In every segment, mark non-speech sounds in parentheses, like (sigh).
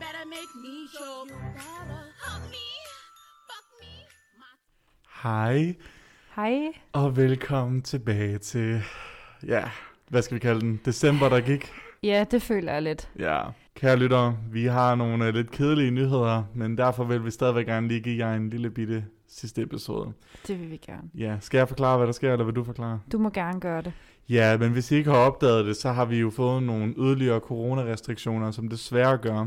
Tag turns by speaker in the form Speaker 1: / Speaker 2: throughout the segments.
Speaker 1: better make me show you better. Hug me, fuck me.
Speaker 2: Hej,
Speaker 3: Hej.
Speaker 2: og velkommen tilbage til, ja, hvad skal vi kalde den? December, der gik.
Speaker 3: Ja, det føler jeg lidt.
Speaker 2: Ja. Kære lyttere, vi har nogle øh, lidt kedelige nyheder, men derfor vil vi stadigvæk gerne lige give jer en lille bitte sidste episode.
Speaker 3: Det vil vi gerne.
Speaker 2: Ja, skal jeg forklare, hvad der sker, eller vil du forklare?
Speaker 3: Du må gerne gøre det.
Speaker 2: Ja, men hvis I ikke har opdaget det, så har vi jo fået nogle yderligere coronarestriktioner, som desværre gør,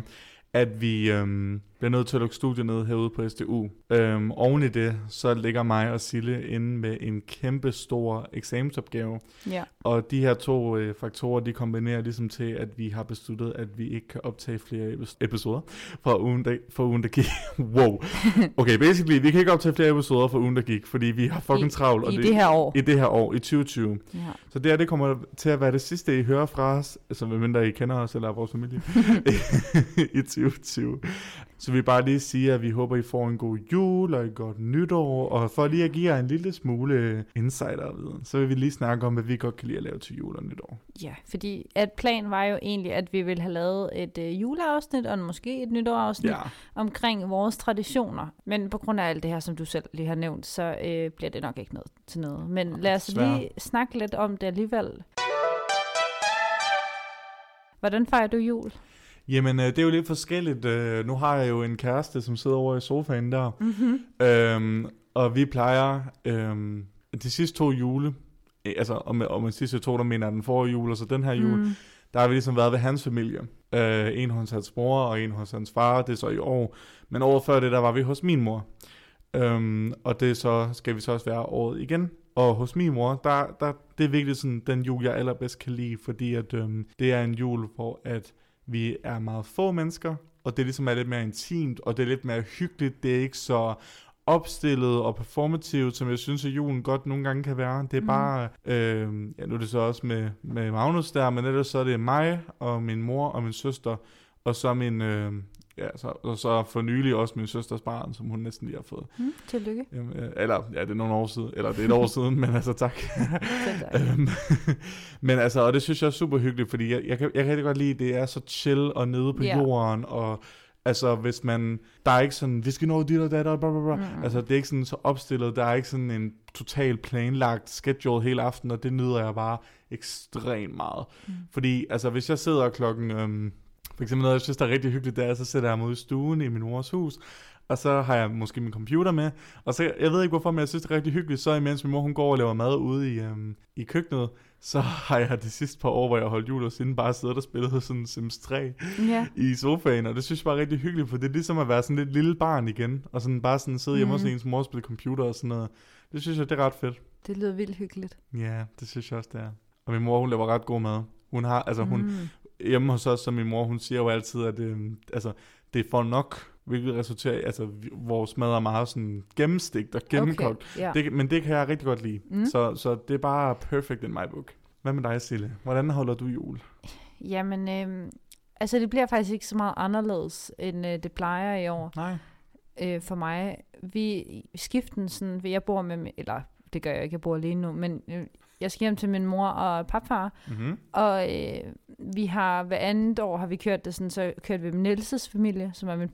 Speaker 2: at vi øhm, bliver nødt til at lukke studiet ned herude på SDU. Øhm, oven i det, så ligger mig og Sille inde med en kæmpe stor eksamensopgave,
Speaker 3: Ja.
Speaker 2: og de her to øh, faktorer, de kombinerer ligesom til, at vi har besluttet, at vi ikke kan optage flere epis- episoder fra ugen, der, fra ugen, der gik. (laughs) wow. Okay, basically, vi kan ikke optage flere episoder fra ugen, der gik, fordi vi har fucking travlt. og
Speaker 3: I det her år.
Speaker 2: I det her år, i 2020.
Speaker 3: Ja.
Speaker 2: Så det her, det kommer til at være det sidste, I hører fra os, altså medmindre I kender os eller er vores familie, (laughs) i 2020. Så vi vil bare lige sige, at vi håber, I får en god jul og et godt nytår, og for lige at give jer en lille smule insiderviden, så vil vi lige snakke om, hvad vi godt kan lide at lave til jul og nytår.
Speaker 3: ja, fordi at planen var jo egentlig, at vi ville have lavet et øh, juleafsnit og måske et nytårsafsnit ja. omkring vores traditioner. Men på grund af alt det her, som du selv lige har nævnt, så øh, bliver det nok ikke noget til noget. Men
Speaker 2: Nej,
Speaker 3: lad os
Speaker 2: desværre.
Speaker 3: lige snakke lidt om det alligevel. Hvordan fejrer du jul?
Speaker 2: Jamen, øh, det er jo lidt forskelligt. Øh, nu har jeg jo en kæreste, som sidder over i sofaen der, mm-hmm. øhm, og vi plejer øhm, de sidste to jule, øh, altså om, om de sidste to, der mener jeg den forrige jul, og så den her jul,
Speaker 3: Mm.
Speaker 2: der har vi ligesom været ved hans familie. Øh, en hos hans mor, og en hos hans far, det er så i år. Men året før det, der var vi hos min mor. Øhm, og det er så skal vi så også være året igen. Og hos min mor, der, der, det er virkelig sådan den jul, jeg allerbedst kan lide, fordi at, øhm, det er en jul, hvor at vi er meget få mennesker, og det ligesom er lidt mere intimt, og det er lidt mere hyggeligt. Det er ikke så opstillet og performativt, som jeg synes, at julen godt nogle gange kan være. Det er
Speaker 3: Mm.
Speaker 2: bare, øh, ja, nu er det så også med, med Magnus der, men ellers så er det mig og min mor og min søster, og så min, øh, ja, så, og så for nylig også min søsters barn, som hun næsten lige har fået.
Speaker 3: Mm, tillykke.
Speaker 2: Jamen, øh, Eller, ja, det er nogle år siden, eller det er et år siden, men altså tak.
Speaker 3: Selv tak.
Speaker 2: Øhm, men altså, og det synes jeg er super hyggeligt, fordi jeg, jeg, kan, jeg kan rigtig godt lide, at det er så chill og nede på
Speaker 3: Ja.
Speaker 2: yeah. jorden, og altså, hvis man, der er ikke sådan, vi skal nå dit og dat, og bla, bla, bla.
Speaker 3: Mm.
Speaker 2: Mm. (laughs) Altså, det er ikke sådan så opstillet, der er ikke sådan en total planlagt schedule hele aften, og det nyder jeg bare ekstremt meget.
Speaker 3: Mm.
Speaker 2: Mm. Fordi, altså, hvis jeg sidder klokken, øhm, for eksempel noget, jeg synes, der er rigtig hyggeligt, det er, så sætter jeg mig ud i stuen i min mors hus, og så har jeg måske min computer med, og så, jeg ved ikke hvorfor, men jeg synes, det er rigtig hyggeligt, så imens min mor hun går og laver mad ude i, øhm, i køkkenet, så (laughs) har jeg de sidste par år, hvor jeg har holdt jul og siden bare siddet og spillet sådan Sims 3
Speaker 3: Mm. Ja.
Speaker 2: i sofaen, og det synes jeg bare er rigtig hyggeligt, for det er ligesom at være sådan lidt lille barn igen, og sådan bare sådan sidde hjemme hos
Speaker 3: Mhm.
Speaker 2: ens mor og spille computer og sådan noget. Det synes jeg, det er ret fedt.
Speaker 3: Det lyder vildt hyggeligt.
Speaker 2: Ja, det synes jeg også, det er. Og min mor, hun laver ret god mad. Hun har, altså hun,
Speaker 3: Mm.
Speaker 2: hjemme hos os, som min mor, hun siger jo altid, at øh, altså, det er for nok, hvilket resulterer i, altså vi- vores mad er meget sådan gennemstigt og gennemkogt. Okay.
Speaker 3: ja.
Speaker 2: Det, men det kan jeg rigtig godt lide.
Speaker 3: Mm.
Speaker 2: Mm. Så, så det er bare perfect in my book. Hvad med dig, Sille? Hvordan holder du jul?
Speaker 3: Jamen, øh, altså det bliver faktisk ikke så meget anderledes, end øh, det plejer i år
Speaker 2: Nej.
Speaker 3: øh, for mig. Vi skiften sådan, jeg bor med, min- eller det gør jeg ikke, jeg bor alene nu, men øh, jeg skal hjem til min mor og papfar,
Speaker 2: Mm-hmm.
Speaker 3: og øh, vi har, hver andet år har vi kørt det sådan, så kørte vi med Nielses familie, som er min,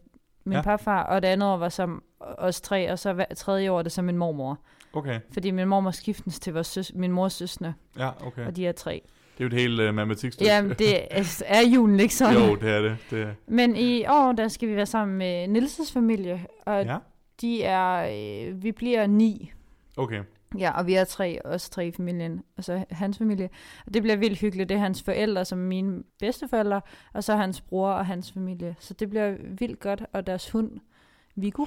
Speaker 3: min ja.
Speaker 2: Ja.
Speaker 3: papfar, og det andet år var som os tre, og så hver, tredje år er det så min mormor.
Speaker 2: Okay,
Speaker 3: Fordi min mormor skiftes til vores søs, min mors søsne,
Speaker 2: ja, okay.
Speaker 3: og de er tre.
Speaker 2: Det er jo et helt øh, matematikstykke.
Speaker 3: Jamen, det er, er julen ikke sådan.
Speaker 2: jo, det er det. det er.
Speaker 3: Men i år, der skal vi være sammen med Nilses familie, og ja.
Speaker 2: Ja,
Speaker 3: de er, øh, vi bliver ni.
Speaker 2: okay.
Speaker 3: Ja, og vi er tre, os tre i familien, og så hans familie. Og det bliver vildt hyggeligt. Det er hans forældre, som er mine bedsteforældre, og så hans bror og hans familie. Så det bliver vildt godt, og deres hund, Vigo.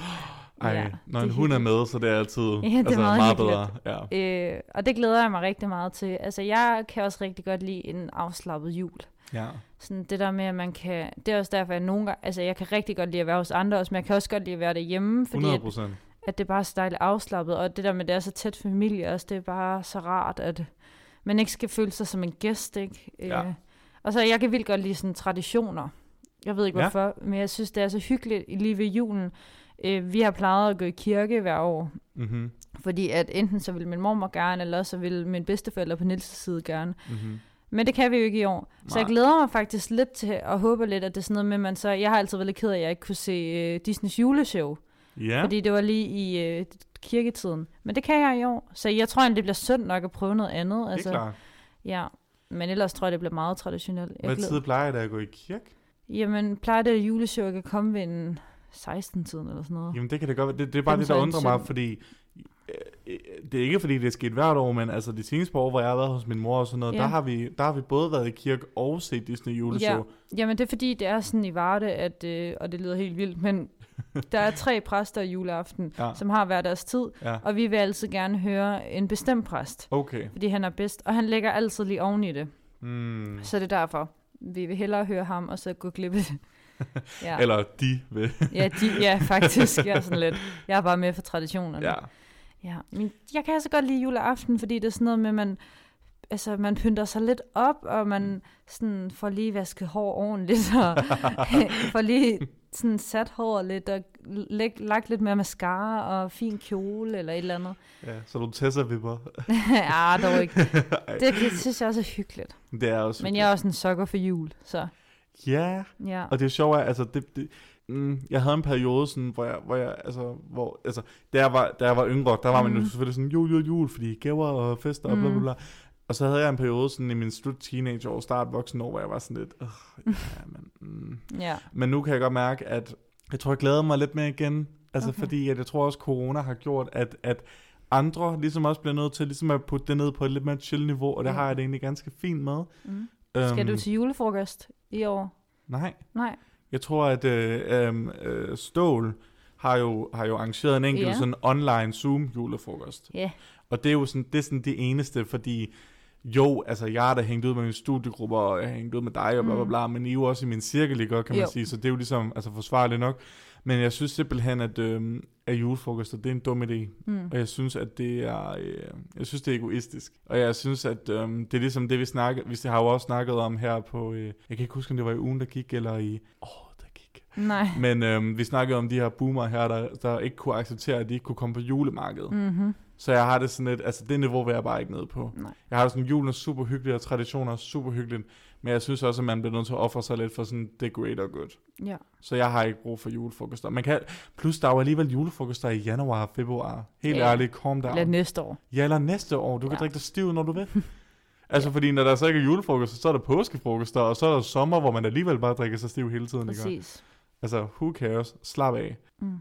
Speaker 2: Ej,
Speaker 3: Ja,
Speaker 2: ja, når
Speaker 3: det
Speaker 2: en
Speaker 3: er
Speaker 2: hund er
Speaker 3: hyggeligt.
Speaker 2: med, så det er altid ja,
Speaker 3: det er
Speaker 2: altså,
Speaker 3: meget
Speaker 2: bedre. Ja.
Speaker 3: Øh, og det glæder jeg mig rigtig meget til. Altså, jeg kan også rigtig godt lide en afslappet jul.
Speaker 2: ja.
Speaker 3: Sådan det der med, at man kan... Det er også derfor, jeg nogle gange... Altså, jeg kan rigtig godt lide at være hos andre også, men jeg kan også godt lide at være derhjemme, fordi
Speaker 2: 100
Speaker 3: at
Speaker 2: procent.
Speaker 3: at det bare er så dejligt afslappet, og det der med, at det er så tæt familie også, det er bare så rart, at man ikke skal føle sig som en gæst, ikke?
Speaker 2: Ja.
Speaker 3: Øh, Og så, jeg kan vildt godt lide sådan traditioner. Jeg ved ikke
Speaker 2: Ja.
Speaker 3: hvorfor, men jeg synes, det er så hyggeligt lige ved julen. Øh, vi har plejet at gå i kirke hver år,
Speaker 2: Mm-hmm.
Speaker 3: fordi at enten så ville min mormor gerne, eller også så ville min bedsteforældre på Nils' side gerne.
Speaker 2: Mm-hmm.
Speaker 3: Men det kan vi jo ikke i år. Nej. Så jeg
Speaker 2: Nej.
Speaker 3: glæder mig faktisk lidt til, og håber lidt, at det er sådan noget med, man så... Jeg har altid været lidt ked af, at jeg ikke kunne se uh, Disneys juleshow.
Speaker 2: Ja,
Speaker 3: Ja. Fordi det var lige i øh, kirketiden. Men det kan jeg i år. Så jeg tror egentlig, det bliver sundt nok at prøve noget andet. altså.
Speaker 2: det er klart.
Speaker 3: Ja. Men ellers tror jeg, det bliver meget traditionelt. Jeg
Speaker 2: Hvad
Speaker 3: glæder-
Speaker 2: tid plejer det at gå i kirke?
Speaker 3: Jamen, plejer det juleshow ikke at komme ved en 16-tiden eller sådan noget?
Speaker 2: Jamen det kan det godt være. Det, det er bare
Speaker 3: Jamen,
Speaker 2: det,
Speaker 3: så
Speaker 2: der
Speaker 3: er
Speaker 2: undrer
Speaker 3: det
Speaker 2: mig,
Speaker 3: synd.
Speaker 2: fordi øh, øh, det er ikke fordi, det er sket hvert år, men altså de seneste par år, hvor jeg har været hos min mor og sådan noget,
Speaker 3: Ja.
Speaker 2: der, har vi, der har vi både været i kirke og set Disney juleshow.
Speaker 3: Jamen, det er fordi, det er sådan i Varde, at, øh, og det lyder helt
Speaker 2: (laughs)
Speaker 3: vildt, men der er tre præster juleaften,
Speaker 2: Ja.
Speaker 3: ja. som har hver deres tid,
Speaker 2: Ja.
Speaker 3: og vi vil altid gerne høre en bestemt præst,
Speaker 2: Okay.
Speaker 3: fordi han er bedst, og han ligger altid lige oven i det.
Speaker 2: Mm.
Speaker 3: Så det er derfor, vi vil hellere høre ham, og så gå glip af
Speaker 2: (laughs)
Speaker 3: det. Ja.
Speaker 2: Eller de vil.
Speaker 3: Ja, de, ja, faktisk. Jeg er sådan lidt. Jeg er bare med for traditionerne.
Speaker 2: Ja.
Speaker 3: ja. Men jeg kan altså godt lide juleaften, fordi det er sådan noget med, man, altså, man pynter sig lidt op, og man sådan får lige vasket hår ordentligt,
Speaker 2: (laughs)
Speaker 3: og får lige sådan sat hår lidt, og læg, lagt lidt mere mascara og fin kjole eller et eller andet. (laughs)
Speaker 2: ja. Så du tesser vipper.
Speaker 3: ja, dog ikke.
Speaker 2: (laughs)
Speaker 3: Det, det synes jeg også er hyggeligt.
Speaker 2: Det er også...
Speaker 3: Men jeg er også en sokker for jul, så
Speaker 2: Ja.
Speaker 3: ja.
Speaker 2: Og det sjove er, altså, det, det, mm, jeg havde en periode, sådan, hvor jeg, hvor jeg altså, hvor, altså, da jeg var, da jeg var yngre, der var man jo
Speaker 3: Mm.
Speaker 2: selvfølgelig sådan, jul, jul, jul, fordi gaver og fester og bla, bla,
Speaker 3: Mm.
Speaker 2: bla. Og så havde jeg en periode sådan i min slut teenageår, start voksenår, hvor jeg var sådan lidt, "Ugh,
Speaker 3: (laughs)
Speaker 2: ja, men, mm.
Speaker 3: ja.
Speaker 2: men nu kan jeg godt mærke, at jeg tror, jeg glæder mig lidt mere igen. Altså okay.
Speaker 3: Okay.
Speaker 2: fordi, at jeg tror også, corona har gjort, at, at andre ligesom også bliver nødt til ligesom at putte det ned på et lidt mere chill niveau, og det
Speaker 3: Ja.
Speaker 2: har jeg det egentlig ganske fint med. Øhm,
Speaker 3: Mm. Skal du til julefrokost i år?
Speaker 2: Nej,
Speaker 3: Nej.
Speaker 2: Jeg tror, at øh, øh, øh, Stål har jo, har jo arrangeret en enkelt
Speaker 3: Ja.
Speaker 2: sådan online Zoom-julefrokost.
Speaker 3: Ja.
Speaker 2: Og det er jo sådan, det, er sådan det eneste, fordi jo, altså jeg er da hængt ud med min studiegruppe, og jeg har hængt ud med dig, og bla bla
Speaker 3: Mm.
Speaker 2: bla, men I er jo også i min cirkel, ikke, godt, kan man
Speaker 3: Jo.
Speaker 2: sige, så det er jo ligesom altså, forsvarligt nok. Men jeg synes simpelthen, at, øh, at julefrokoster, det er en dum idé.
Speaker 3: Mm.
Speaker 2: Og jeg synes, at det er, øh, jeg synes, det er egoistisk. Og jeg synes, at øh, det er ligesom det, vi snakker, vi har jo også snakket om her på, øh, jeg kan ikke huske, om det var i ugen, der gik, eller i året, der gik.
Speaker 3: Nej.
Speaker 2: Men øh, vi snakkede om de her boomer her, der, der ikke kunne acceptere, at de ikke kunne komme på julemarkedet. Mm.
Speaker 3: Mm-hmm.
Speaker 2: Så jeg har det sådan lidt, altså det niveau vil jeg bare ikke ned på.
Speaker 3: Nej.
Speaker 2: Jeg har det sådan, julen er super hyggelig, og traditioner er super hyggeligt. Men jeg synes også, at man bliver nødt til at ofre sig lidt for sådan the greater good.
Speaker 3: Ja.
Speaker 2: Så jeg har ikke brug for julefrokoster. Man kan, plus der er jo alligevel julefrokoster i januar og februar. Helt
Speaker 3: Ja.
Speaker 2: ærligt, kom der.
Speaker 3: Eller næste år.
Speaker 2: Ja, eller næste år. Du kan ja.
Speaker 3: Ja.
Speaker 2: drikke dig stiv, når du vil.
Speaker 3: (laughs)
Speaker 2: Altså, ja. fordi når der så ikke er julefrokoster, så er der påskefrokoster, og så er der sommer, hvor man alligevel bare drikker sig stiv hele tiden. Ikke?
Speaker 3: Præcis.
Speaker 2: Altså, who cares? Slap af.
Speaker 3: Mm.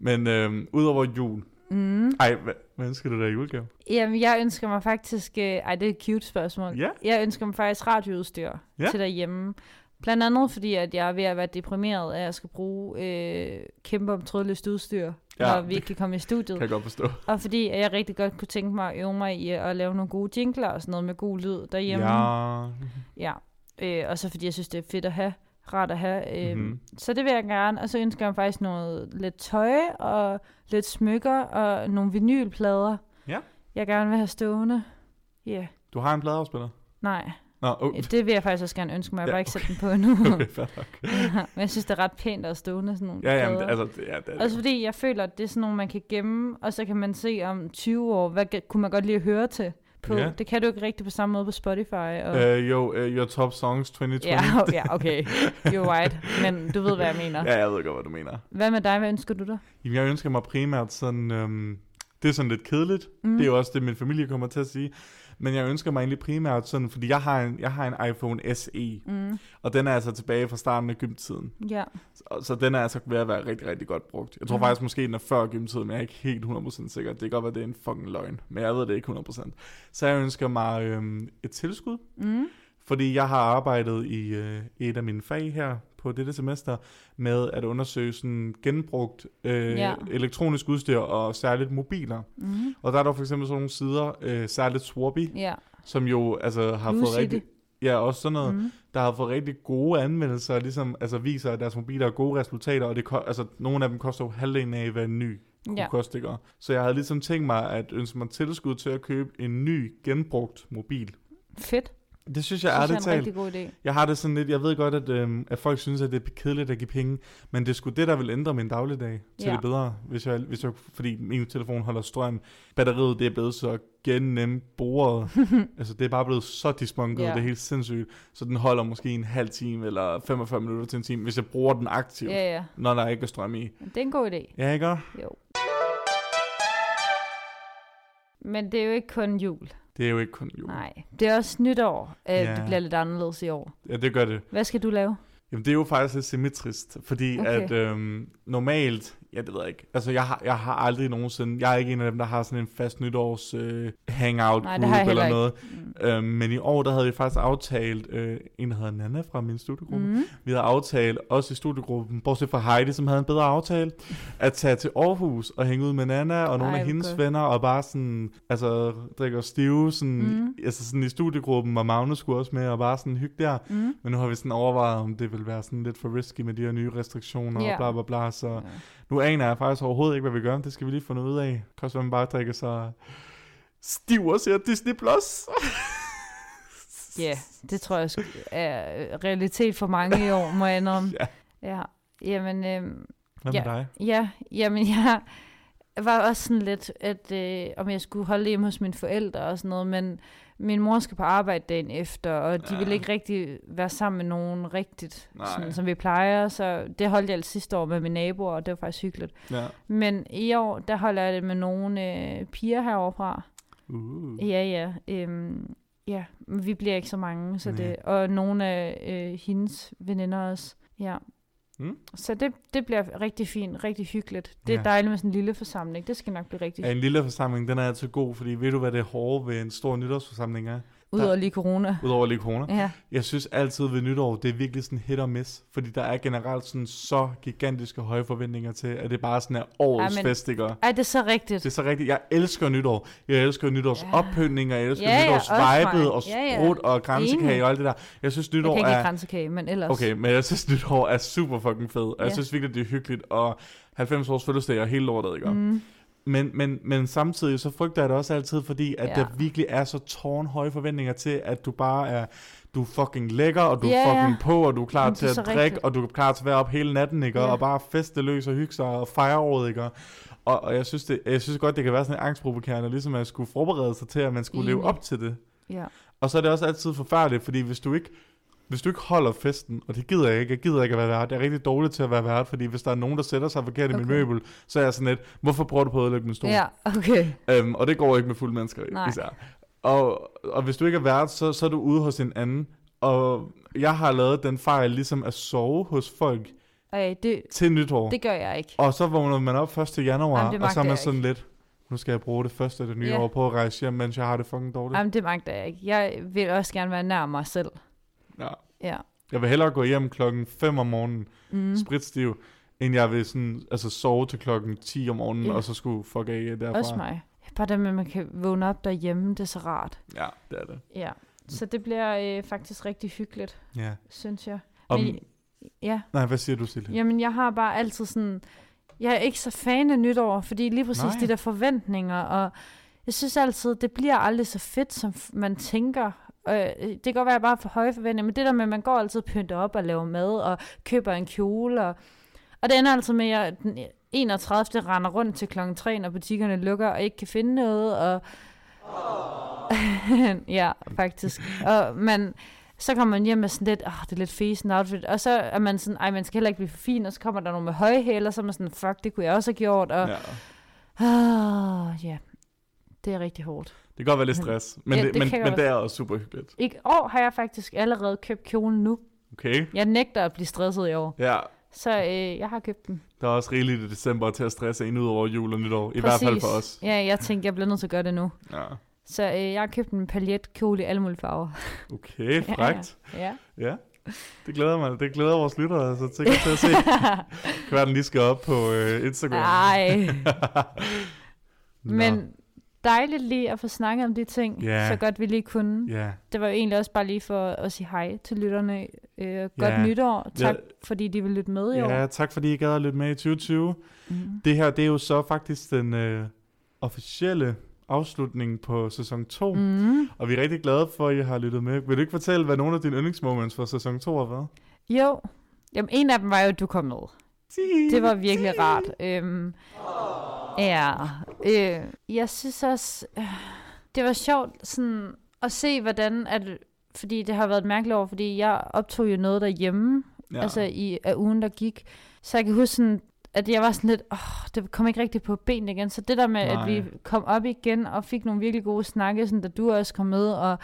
Speaker 2: Men øhm, udover jul.
Speaker 3: Mm.
Speaker 2: Ej, hvad, hvad ønsker du der i julegave?
Speaker 3: Jamen, jeg ønsker mig faktisk... Øh, ej, det er et cute spørgsmål.
Speaker 2: Ja.
Speaker 3: Jeg ønsker mig faktisk radioudstyr
Speaker 2: Ja.
Speaker 3: ja. til derhjemme. Blandt andet fordi, at jeg er ved at være deprimeret af, at jeg skal bruge øh, kæmpe om trådløst udstyr,
Speaker 2: Ja,
Speaker 3: ja, når vi
Speaker 2: det
Speaker 3: ikke kan komme i studiet.
Speaker 2: Kan jeg godt forstå.
Speaker 3: Og fordi at jeg rigtig godt kunne tænke mig at øve mig i at lave nogle gode jingler og sådan noget med god lyd derhjemme.
Speaker 2: Ja.
Speaker 3: ja. Øh, og så fordi jeg synes, det er fedt at have, rart at have. Øh,
Speaker 2: Mhm.
Speaker 3: mm-hmm. Så det vil jeg gerne. Og så ønsker jeg mig faktisk noget lidt tøj og lidt smykker og nogle vinylplader.
Speaker 2: Ja.
Speaker 3: Jeg gerne vil have stående. Ja. Yeah.
Speaker 2: Du har en pladeafspiller?
Speaker 3: Nej,
Speaker 2: Nå, okay.
Speaker 3: det vil jeg faktisk også gerne ønske mig. Jeg har
Speaker 2: Ja,
Speaker 3: bare ikke sat den på
Speaker 2: (laughs)
Speaker 3: endnu.
Speaker 2: okay, fair nok.
Speaker 3: (laughs) Men jeg synes, det er ret pænt at stående sådan nogle
Speaker 2: Ja, ja, men
Speaker 3: plader.
Speaker 2: det, altså, det, ja, det, er det.
Speaker 3: Også fordi jeg føler, at det er sådan nogle, man kan gemme, og så kan man se om 20 år, hvad g- kunne man godt lige at høre til på.
Speaker 2: Ja.
Speaker 3: Ja. Det kan du ikke rigtig på samme måde på Spotify. Og...
Speaker 2: Øh, jo, øh, your top songs 2020.
Speaker 3: ja, (laughs) ja, okay. You're right. Men du ved, hvad jeg mener.
Speaker 2: ja, jeg ved godt, hvad du mener.
Speaker 3: Hvad med dig? Hvad ønsker du dig?
Speaker 2: Jamen, jeg ønsker mig primært sådan... Øhm, det er sådan lidt kedeligt. Mm. Det er jo også det, min familie kommer til at sige. Men jeg ønsker mig egentlig primært sådan, fordi jeg har en, jeg har en iPhone SE,
Speaker 3: Mm,
Speaker 2: og den er altså tilbage fra starten af gymtiden.
Speaker 3: ja.
Speaker 2: Så, så den er altså ved at være rigtig, rigtig godt brugt. Jeg tror mm.
Speaker 3: Mm.
Speaker 2: faktisk måske, den er før gymtiden, men jeg er ikke helt 100% sikker. Det kan godt være, det er en fucking løgn, men jeg ved det ikke 100%. Så jeg ønsker mig øhm, et tilskud,
Speaker 3: Mm,
Speaker 2: fordi jeg har arbejdet i øh, et af mine fag her på dette semester med at undersøge sådan genbrugt øh, ja.
Speaker 3: Ja.
Speaker 2: elektronisk udstyr og særligt mobiler.
Speaker 3: mm,
Speaker 2: Og der er der for eksempel sådan nogle sider, øh, særligt Swabi,
Speaker 3: ja.
Speaker 2: som jo altså har
Speaker 3: Nu
Speaker 2: fået
Speaker 3: siger
Speaker 2: rigtig... Ja, også sådan noget, mm.
Speaker 3: Mm,
Speaker 2: der har fået rigtig gode anmeldelser, og ligesom altså viser, at deres mobiler har gode resultater, og det ko- altså, nogle af dem koster jo halvdelen af, hvad en ny kunne ja.
Speaker 3: ja.
Speaker 2: koste. ikke? Så jeg havde ligesom tænkt mig at ønske mig tilskud til at købe en ny genbrugt mobil.
Speaker 3: Fedt.
Speaker 2: Det synes jeg
Speaker 3: Det synes
Speaker 2: ærligt
Speaker 3: jeg er en
Speaker 2: talt.
Speaker 3: rigtig god idé.
Speaker 2: Jeg har det sådan lidt, jeg ved godt, at, øhm, at folk synes, at det er kedeligt at give penge, men det er sgu det, der vil ændre min dagligdag til
Speaker 3: Ja.
Speaker 2: det bedre, hvis jeg, hvis jeg, fordi min telefon holder strøm. Batteriet, det er blevet så gennemt
Speaker 3: (laughs)
Speaker 2: boret. altså, det er bare blevet så dismunket,
Speaker 3: Ja.
Speaker 2: det er helt sindssygt. Så den holder måske en halv time eller 45 minutter til en time, hvis jeg bruger den aktivt,
Speaker 3: Ja, ja.
Speaker 2: når der ikke er strøm i.
Speaker 3: Men Det er en god idé.
Speaker 2: Ja, ikke?
Speaker 3: Jo. Men det er jo ikke kun jul.
Speaker 2: Det er jo ikke kun jul.
Speaker 3: Nej. Det er også nytår, at
Speaker 2: Ja.
Speaker 3: det bliver lidt anderledes i år.
Speaker 2: Ja, det gør det.
Speaker 3: Hvad skal du lave?
Speaker 2: Jamen, det er jo faktisk lidt symmetrisk, fordi okay.
Speaker 3: Okay.
Speaker 2: at øhm, normalt, ja, det ved jeg ikke, altså jeg har, jeg har aldrig nogensinde, jeg er ikke en af dem, der har sådan en fast nytårs øh, hangout
Speaker 3: Nej,
Speaker 2: Nej,
Speaker 3: det har jeg
Speaker 2: group
Speaker 3: heller
Speaker 2: eller
Speaker 3: ikke. Mm.
Speaker 2: noget, øhm, men i år, der havde vi faktisk aftalt, øh, en der hedder Nana fra min studiegruppe, mm.
Speaker 3: Mm.
Speaker 2: vi havde aftalt, også i studiegruppen, bortset fra Heidi, som havde en bedre aftale, at tage til Aarhus og hænge ud med Nana og nogle
Speaker 3: Ej,
Speaker 2: af
Speaker 3: hvor
Speaker 2: hendes
Speaker 3: godt.
Speaker 2: venner, og bare sådan, altså drikke os stive, sådan,
Speaker 3: Mm.
Speaker 2: mm. altså sådan i studiegruppen, og Magnus skulle også med, og bare sådan hygge der.
Speaker 3: Mm.
Speaker 2: Men nu har vi sådan overvejet, om det vil være sådan lidt for risky med de her nye restriktioner
Speaker 3: Ja.
Speaker 2: og bla bla bla, så
Speaker 3: Ja.
Speaker 2: nu aner jeg faktisk overhovedet ikke, hvad vi gør. Det skal vi lige finde ud af. Det kan også være, man bare drikker sig stiv og ser Disney+. Plus.
Speaker 3: Ja, det tror jeg sk- er øh, realitet for mange i år, må jeg indrømme.
Speaker 2: (laughs) Ja.
Speaker 3: ja. Jamen, øh,
Speaker 2: Hvad med dig?
Speaker 3: ja, jamen, jeg var også sådan lidt, at øh, om jeg skulle holde hjemme hos mine forældre og sådan noget, men min mor skal på arbejde dagen efter, og de ja.
Speaker 2: Ja.
Speaker 3: ville ikke rigtig være sammen med nogen rigtigt,
Speaker 2: Nej.
Speaker 3: sådan, som vi plejer, så det holdt jeg altså sidste år med mine naboer, og det var faktisk hyggeligt.
Speaker 2: Ja.
Speaker 3: Men i år, der holder jeg det med nogle øh, piger herovre fra,
Speaker 2: Uh.
Speaker 3: Ja, ja. Øhm, ja, men vi bliver ikke så mange, så
Speaker 2: Nej.
Speaker 3: det, og nogle af øh, hendes veninder også. Ja.
Speaker 2: Mm.
Speaker 3: Så det, det bliver rigtig fint, rigtig hyggeligt. Det er
Speaker 2: Ja.
Speaker 3: dejligt med sådan en lille forsamling. Det skal nok blive rigtig
Speaker 2: Ja,
Speaker 3: hyggeligt.
Speaker 2: en lille forsamling, den er altid god, fordi ved du, hvad det hårde ved en stor nytårsforsamling er?
Speaker 3: Udover lige corona.
Speaker 2: Udover lige corona.
Speaker 3: Ja,
Speaker 2: Jeg synes altid ved nytår, det er virkelig sådan hit og miss, fordi der er generelt sådan så gigantiske høje forventninger til, at det bare sådan er årets
Speaker 3: Ja,
Speaker 2: ja,
Speaker 3: men-
Speaker 2: festikker.
Speaker 3: Ej, det er så rigtigt.
Speaker 2: Det er så rigtigt. Jeg elsker nytår. Jeg elsker nytårs
Speaker 3: Ja.
Speaker 2: ja. oppyndning, og jeg elsker
Speaker 3: Ja, ja,
Speaker 2: ja, nytårs
Speaker 3: også mig.
Speaker 2: vibet, og
Speaker 3: Ja, ja.
Speaker 2: sprut, og
Speaker 3: Enig.
Speaker 2: grænsekage og alt det der. Jeg synes,
Speaker 3: jeg kan
Speaker 2: nytår
Speaker 3: ikke lide
Speaker 2: er...
Speaker 3: kransekage, men ellers.
Speaker 2: Okay, men jeg synes, nytår er super fucking fed, og ja.
Speaker 3: Ja.
Speaker 2: jeg synes virkelig, det er hyggeligt, og 90 års fødselsdag og hele lortet, ikke? Mm.
Speaker 3: Mm,
Speaker 2: Men, men, men samtidig så frygter jeg det også altid, fordi at
Speaker 3: Ja.
Speaker 2: ja. der virkelig er så tårnhøje forventninger til, at du bare er, du er fucking lækker, og du
Speaker 3: Ja,
Speaker 2: er
Speaker 3: ja.
Speaker 2: fucking på, og du er klar
Speaker 3: Jamen,
Speaker 2: til
Speaker 3: det
Speaker 2: at
Speaker 3: er så
Speaker 2: drikke,
Speaker 3: rigtigt.
Speaker 2: og du er klar til at være op hele natten, ikke?
Speaker 3: Ja.
Speaker 2: Og bare feste løs og hygge sig og fejre året, ikke? Og, og jeg, synes det, jeg synes godt, det kan være sådan en angstprovokerende, ligesom at skulle forberede sig til, at man skulle leve
Speaker 3: Enig.
Speaker 2: op til det.
Speaker 3: ja.
Speaker 2: Og så er det også altid forfærdeligt, fordi hvis du ikke hvis du ikke holder festen, og det gider jeg ikke, jeg gider ikke at være vært, jeg er rigtig dårlig til at være vært, fordi hvis der er nogen, der sætter sig forkert okay. i min
Speaker 3: Okay.
Speaker 2: møbel, så er jeg sådan lidt, hvorfor bruger du på at ødelægge min stol?
Speaker 3: ja, okay.
Speaker 2: Øhm, og det går ikke med fulde mennesker
Speaker 3: Nej.
Speaker 2: Nej. især. Og, og hvis du ikke er vært, så, så er du ude hos en anden. Og jeg har lavet den fejl ligesom at sove hos folk
Speaker 3: Ej, det,
Speaker 2: til nytår. Det...
Speaker 3: det gør jeg ikke.
Speaker 2: Og så vågner man op 1. januar,
Speaker 3: Jamen, det
Speaker 2: Jamen, og så
Speaker 3: magter
Speaker 2: er man
Speaker 3: jeg
Speaker 2: sådan lidt, nu skal jeg bruge det første af det nye
Speaker 3: Ja.
Speaker 2: år på at rejse hjem, mens jeg har det fucking dårligt.
Speaker 3: Jamen, det magter jeg ikke. Jeg vil også gerne være nær mig selv.
Speaker 2: Ja.
Speaker 3: Ja.
Speaker 2: Jeg vil hellere gå hjem klokken 5 om morgenen,
Speaker 3: Mm.
Speaker 2: mm. spritstiv, end jeg vil sådan, altså sove til klokken 10 om morgenen,
Speaker 3: Ja.
Speaker 2: og så skulle fuck af derfra.
Speaker 3: Også mig. Bare det med, at man kan vågne op derhjemme, det er så rart.
Speaker 2: Ja, det er det.
Speaker 3: Ja. Så det bliver øh, faktisk rigtig hyggeligt,
Speaker 2: Ja.
Speaker 3: synes jeg.
Speaker 2: Om,
Speaker 3: Men, ja.
Speaker 2: Nej, hvad siger du, Silje?
Speaker 3: Jamen, jeg har bare altid sådan... Jeg er ikke så fan af nytår, fordi lige præcis Nej.
Speaker 2: Nej.
Speaker 3: de der forventninger, og jeg synes altid, det bliver aldrig så fedt, som f- man tænker. Øh, det kan godt være, at jeg bare har for høje forventninger, men det der med, at man går altid og pynter op og laver mad, og køber en kjole, og, og det ender altid med, at jeg den 31. render rundt til klokken 3, når butikkerne lukker, og ikke kan finde noget, og... (laughs) ja, faktisk. Og man, så kommer man hjem med sådan lidt, åh, det er lidt fesen outfit, og så er man sådan, ej, man skal heller ikke blive for fin, og så kommer der nogen med høje hæler, og så er man sådan, fuck, det kunne jeg også have gjort, og ja,
Speaker 2: Ja.
Speaker 3: ah, ja. det er rigtig hårdt.
Speaker 2: Det kan godt være lidt stress, men,
Speaker 3: Ja,
Speaker 2: ja,
Speaker 3: det
Speaker 2: det,
Speaker 3: kan
Speaker 2: men,
Speaker 3: jeg
Speaker 2: men
Speaker 3: godt-
Speaker 2: det er også super hyggeligt.
Speaker 3: I år har jeg faktisk allerede købt kjolen nu.
Speaker 2: Okay?
Speaker 3: Jeg nægter at blive stresset i år,
Speaker 2: Ja,
Speaker 3: så øh, jeg har købt den.
Speaker 2: der er også rigeligt i december til at stresse en ud over jul og nytår. I hvert fald for os.
Speaker 3: Ja, jeg tænkte, jeg bliver nødt til at gøre det nu.
Speaker 2: Ja.
Speaker 3: Så øh, jeg har købt en paljetkjole i alle mulige farver.
Speaker 2: Okay,
Speaker 3: Ja,
Speaker 2: frækt.
Speaker 3: Ja.
Speaker 2: Ja. Det glæder mig. Det glæder vores lyttere, altså til til at
Speaker 3: (laughs)
Speaker 2: se. Det kan være, den lige skal op på øh, Instagram.
Speaker 3: Ej.
Speaker 2: (laughs) Nå.
Speaker 3: Men dejligt lige at få snakket om de ting,
Speaker 2: Ja.
Speaker 3: så godt vi lige kunne.
Speaker 2: Ja.
Speaker 3: Det var jo egentlig også bare lige for at sige hej til lytterne. Øh, godt
Speaker 2: Ja.
Speaker 3: nytår. Tak,
Speaker 2: Ja.
Speaker 3: fordi de vil lytte med i år.
Speaker 2: ja, tak fordi I gad at lytte med i 2020.
Speaker 3: Mm.
Speaker 2: Det her, det er jo så faktisk den øh, officielle afslutningen på sæson 2. Mm.
Speaker 3: Mm.
Speaker 2: Og vi er rigtig glade for, at I har lyttet med. Vil du ikke fortælle, hvad nogle af dine yndlingsmoments fra sæson 2 har været?
Speaker 3: Jo. Jamen, en af dem var jo, at du kom med. Det var virkelig rart. Øhm, ja. Øh, jeg synes også, øh, det var sjovt sådan, at se, hvordan... At, fordi det har været et mærkeligt år, fordi jeg optog jo noget derhjemme, ja. altså i af ugen, der gik. Så jeg kan huske sådan, at jeg var sådan lidt, åh, det kom ikke rigtigt på benene igen. Så det der med, Nej.
Speaker 2: Nej.
Speaker 3: at vi kom op igen og fik nogle virkelig gode snakke, sådan, da du også kom med, og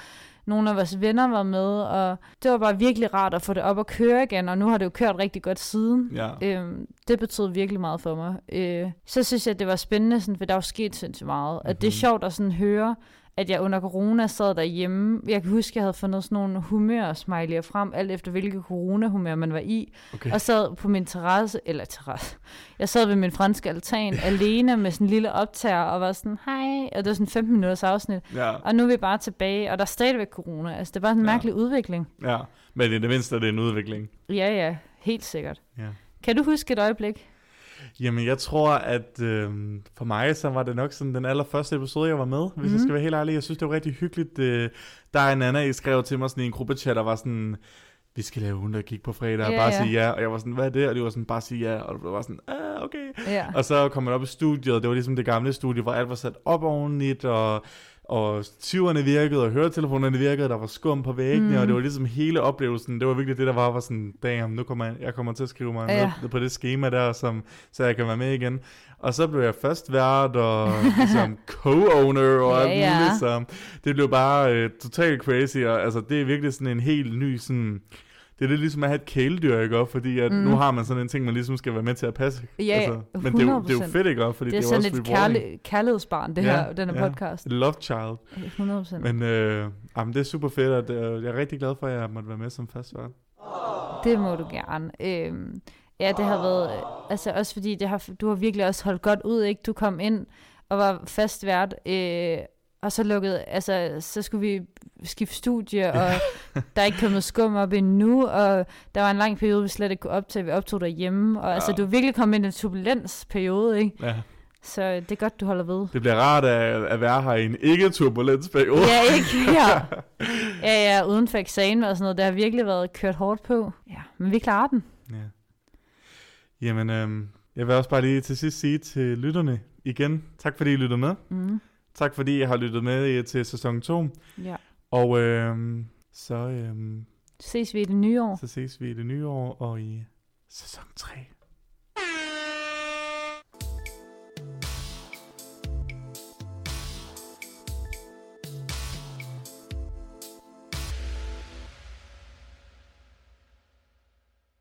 Speaker 3: nogle af vores venner var med, og det var bare virkelig rart at få det op og køre igen, og nu har det jo kørt rigtig godt siden.
Speaker 2: Ja.
Speaker 3: Øhm, det betød virkelig meget for mig. Øh, så synes jeg, at det var spændende, sådan, for der er jo sket sindssygt meget. Mm-hmm.
Speaker 2: Mhm.
Speaker 3: At det er sjovt at sådan høre, at jeg under corona sad derhjemme. Jeg kan huske, at jeg havde fundet sådan nogle humørsmiley'er frem, alt efter hvilket corona-humør man var i.
Speaker 2: Okay.
Speaker 3: Og sad på min terrasse, eller terrasse, jeg sad ved min franske
Speaker 2: (laughs)
Speaker 3: altan alene med sådan en lille optager og var sådan, hej, og det var sådan 15 minutters afsnit.
Speaker 2: Ja,
Speaker 3: Og nu er vi bare tilbage, og der er stadigvæk corona. Altså, det er bare sådan en
Speaker 2: Ja.
Speaker 3: mærkelig udvikling.
Speaker 2: ja. Men i det mindste er det en udvikling.
Speaker 3: Ja, ja, helt sikkert.
Speaker 2: Ja.
Speaker 3: Kan du huske et øjeblik?
Speaker 2: Jamen, jeg tror, at øh, for mig, så var det nok sådan den allerførste episode, jeg var med, hvis mm.
Speaker 3: Mhm.
Speaker 2: jeg skal være helt ærlig. Jeg synes, det var rigtig hyggeligt. Øh, der er en anden, I skrev til mig sådan i en gruppechat, der var sådan, vi skal lave hunden, der gik på fredag,
Speaker 3: Ja,
Speaker 2: yeah, bare
Speaker 3: ja.
Speaker 2: sige ja. Og jeg var sådan, hvad er det? Og det var sådan, bare sige ja. Og det var sådan, ah, okay.
Speaker 3: Ja.
Speaker 2: Og så kom man op i studiet, og det var ligesom det gamle studie, hvor alt var sat op ovenligt, og, og tiverne virkede, og høretelefonerne virkede, der var skum på væggene,
Speaker 3: Mm.
Speaker 2: mm. og det var ligesom hele oplevelsen. Det var virkelig det, der var, var sådan, damn, nu kommer jeg, jeg kommer til at skrive mig
Speaker 3: Ja.
Speaker 2: ja. ned på det schema der, som, så jeg kan være med igen. Og så blev jeg først vært, og (laughs) ligesom co-owner, og
Speaker 3: Ja,
Speaker 2: alt
Speaker 3: ja.
Speaker 2: muligt, så det blev bare øh, totalt crazy, og altså, det er virkelig sådan en helt ny sådan... Det er lidt ligesom at have et kæledyr, ikke? også? Fordi at
Speaker 3: Mm.
Speaker 2: mm. nu har man sådan en ting, man ligesom skal være med til at passe.
Speaker 3: Ja,
Speaker 2: Altså, men det er, jo, det er jo
Speaker 3: 100%.
Speaker 2: fedt, ikke? også? Fordi
Speaker 3: Det er
Speaker 2: jo
Speaker 3: sådan
Speaker 2: også
Speaker 3: et
Speaker 2: rewarding.
Speaker 3: kærle, kærlighedsbarn, det
Speaker 2: Ja,
Speaker 3: her, den her
Speaker 2: ja.
Speaker 3: podcast.
Speaker 2: Et Love child.
Speaker 3: 100 procent.
Speaker 2: Men øh, jamen, det er super fedt, og det, er- jeg er rigtig glad for, at jeg måtte være med som fastvært.
Speaker 3: Det må du gerne. Øhm, ja, det har været... øh, Altså også fordi, det har, du har virkelig også holdt godt ud, ikke? Du kom ind og var fast vært, øh, og så lukkede... Altså, så skulle vi skifte studie, og der er ikke kommet skum op endnu, og der var en lang periode, vi slet ikke kunne optage. Vi optog derhjemme, og ja. altså,
Speaker 2: Ja.
Speaker 3: du er virkelig kommet ind i en turbulensperiode, ikke?
Speaker 2: Ja.
Speaker 3: Så øh, det er godt, du holder ved.
Speaker 2: Det bliver rart at, at være her i en ikke-turbulens periode.
Speaker 3: Ja, ikke her. Ja, ja, uden for eksamen og sådan noget. Det har virkelig været kørt hårdt på. Ja, men vi klarer den.
Speaker 2: Ja. Jamen, øh, jeg vil også bare lige til sidst sige til lytterne igen, tak fordi I lyttede med.
Speaker 3: Mm.
Speaker 2: Tak fordi I har lyttet med øh, til sæson 2.
Speaker 3: Ja.
Speaker 2: Og øh, så, øh,
Speaker 3: Ses vi i det nye år.
Speaker 2: så ses vi i det nye år og i sæson 3.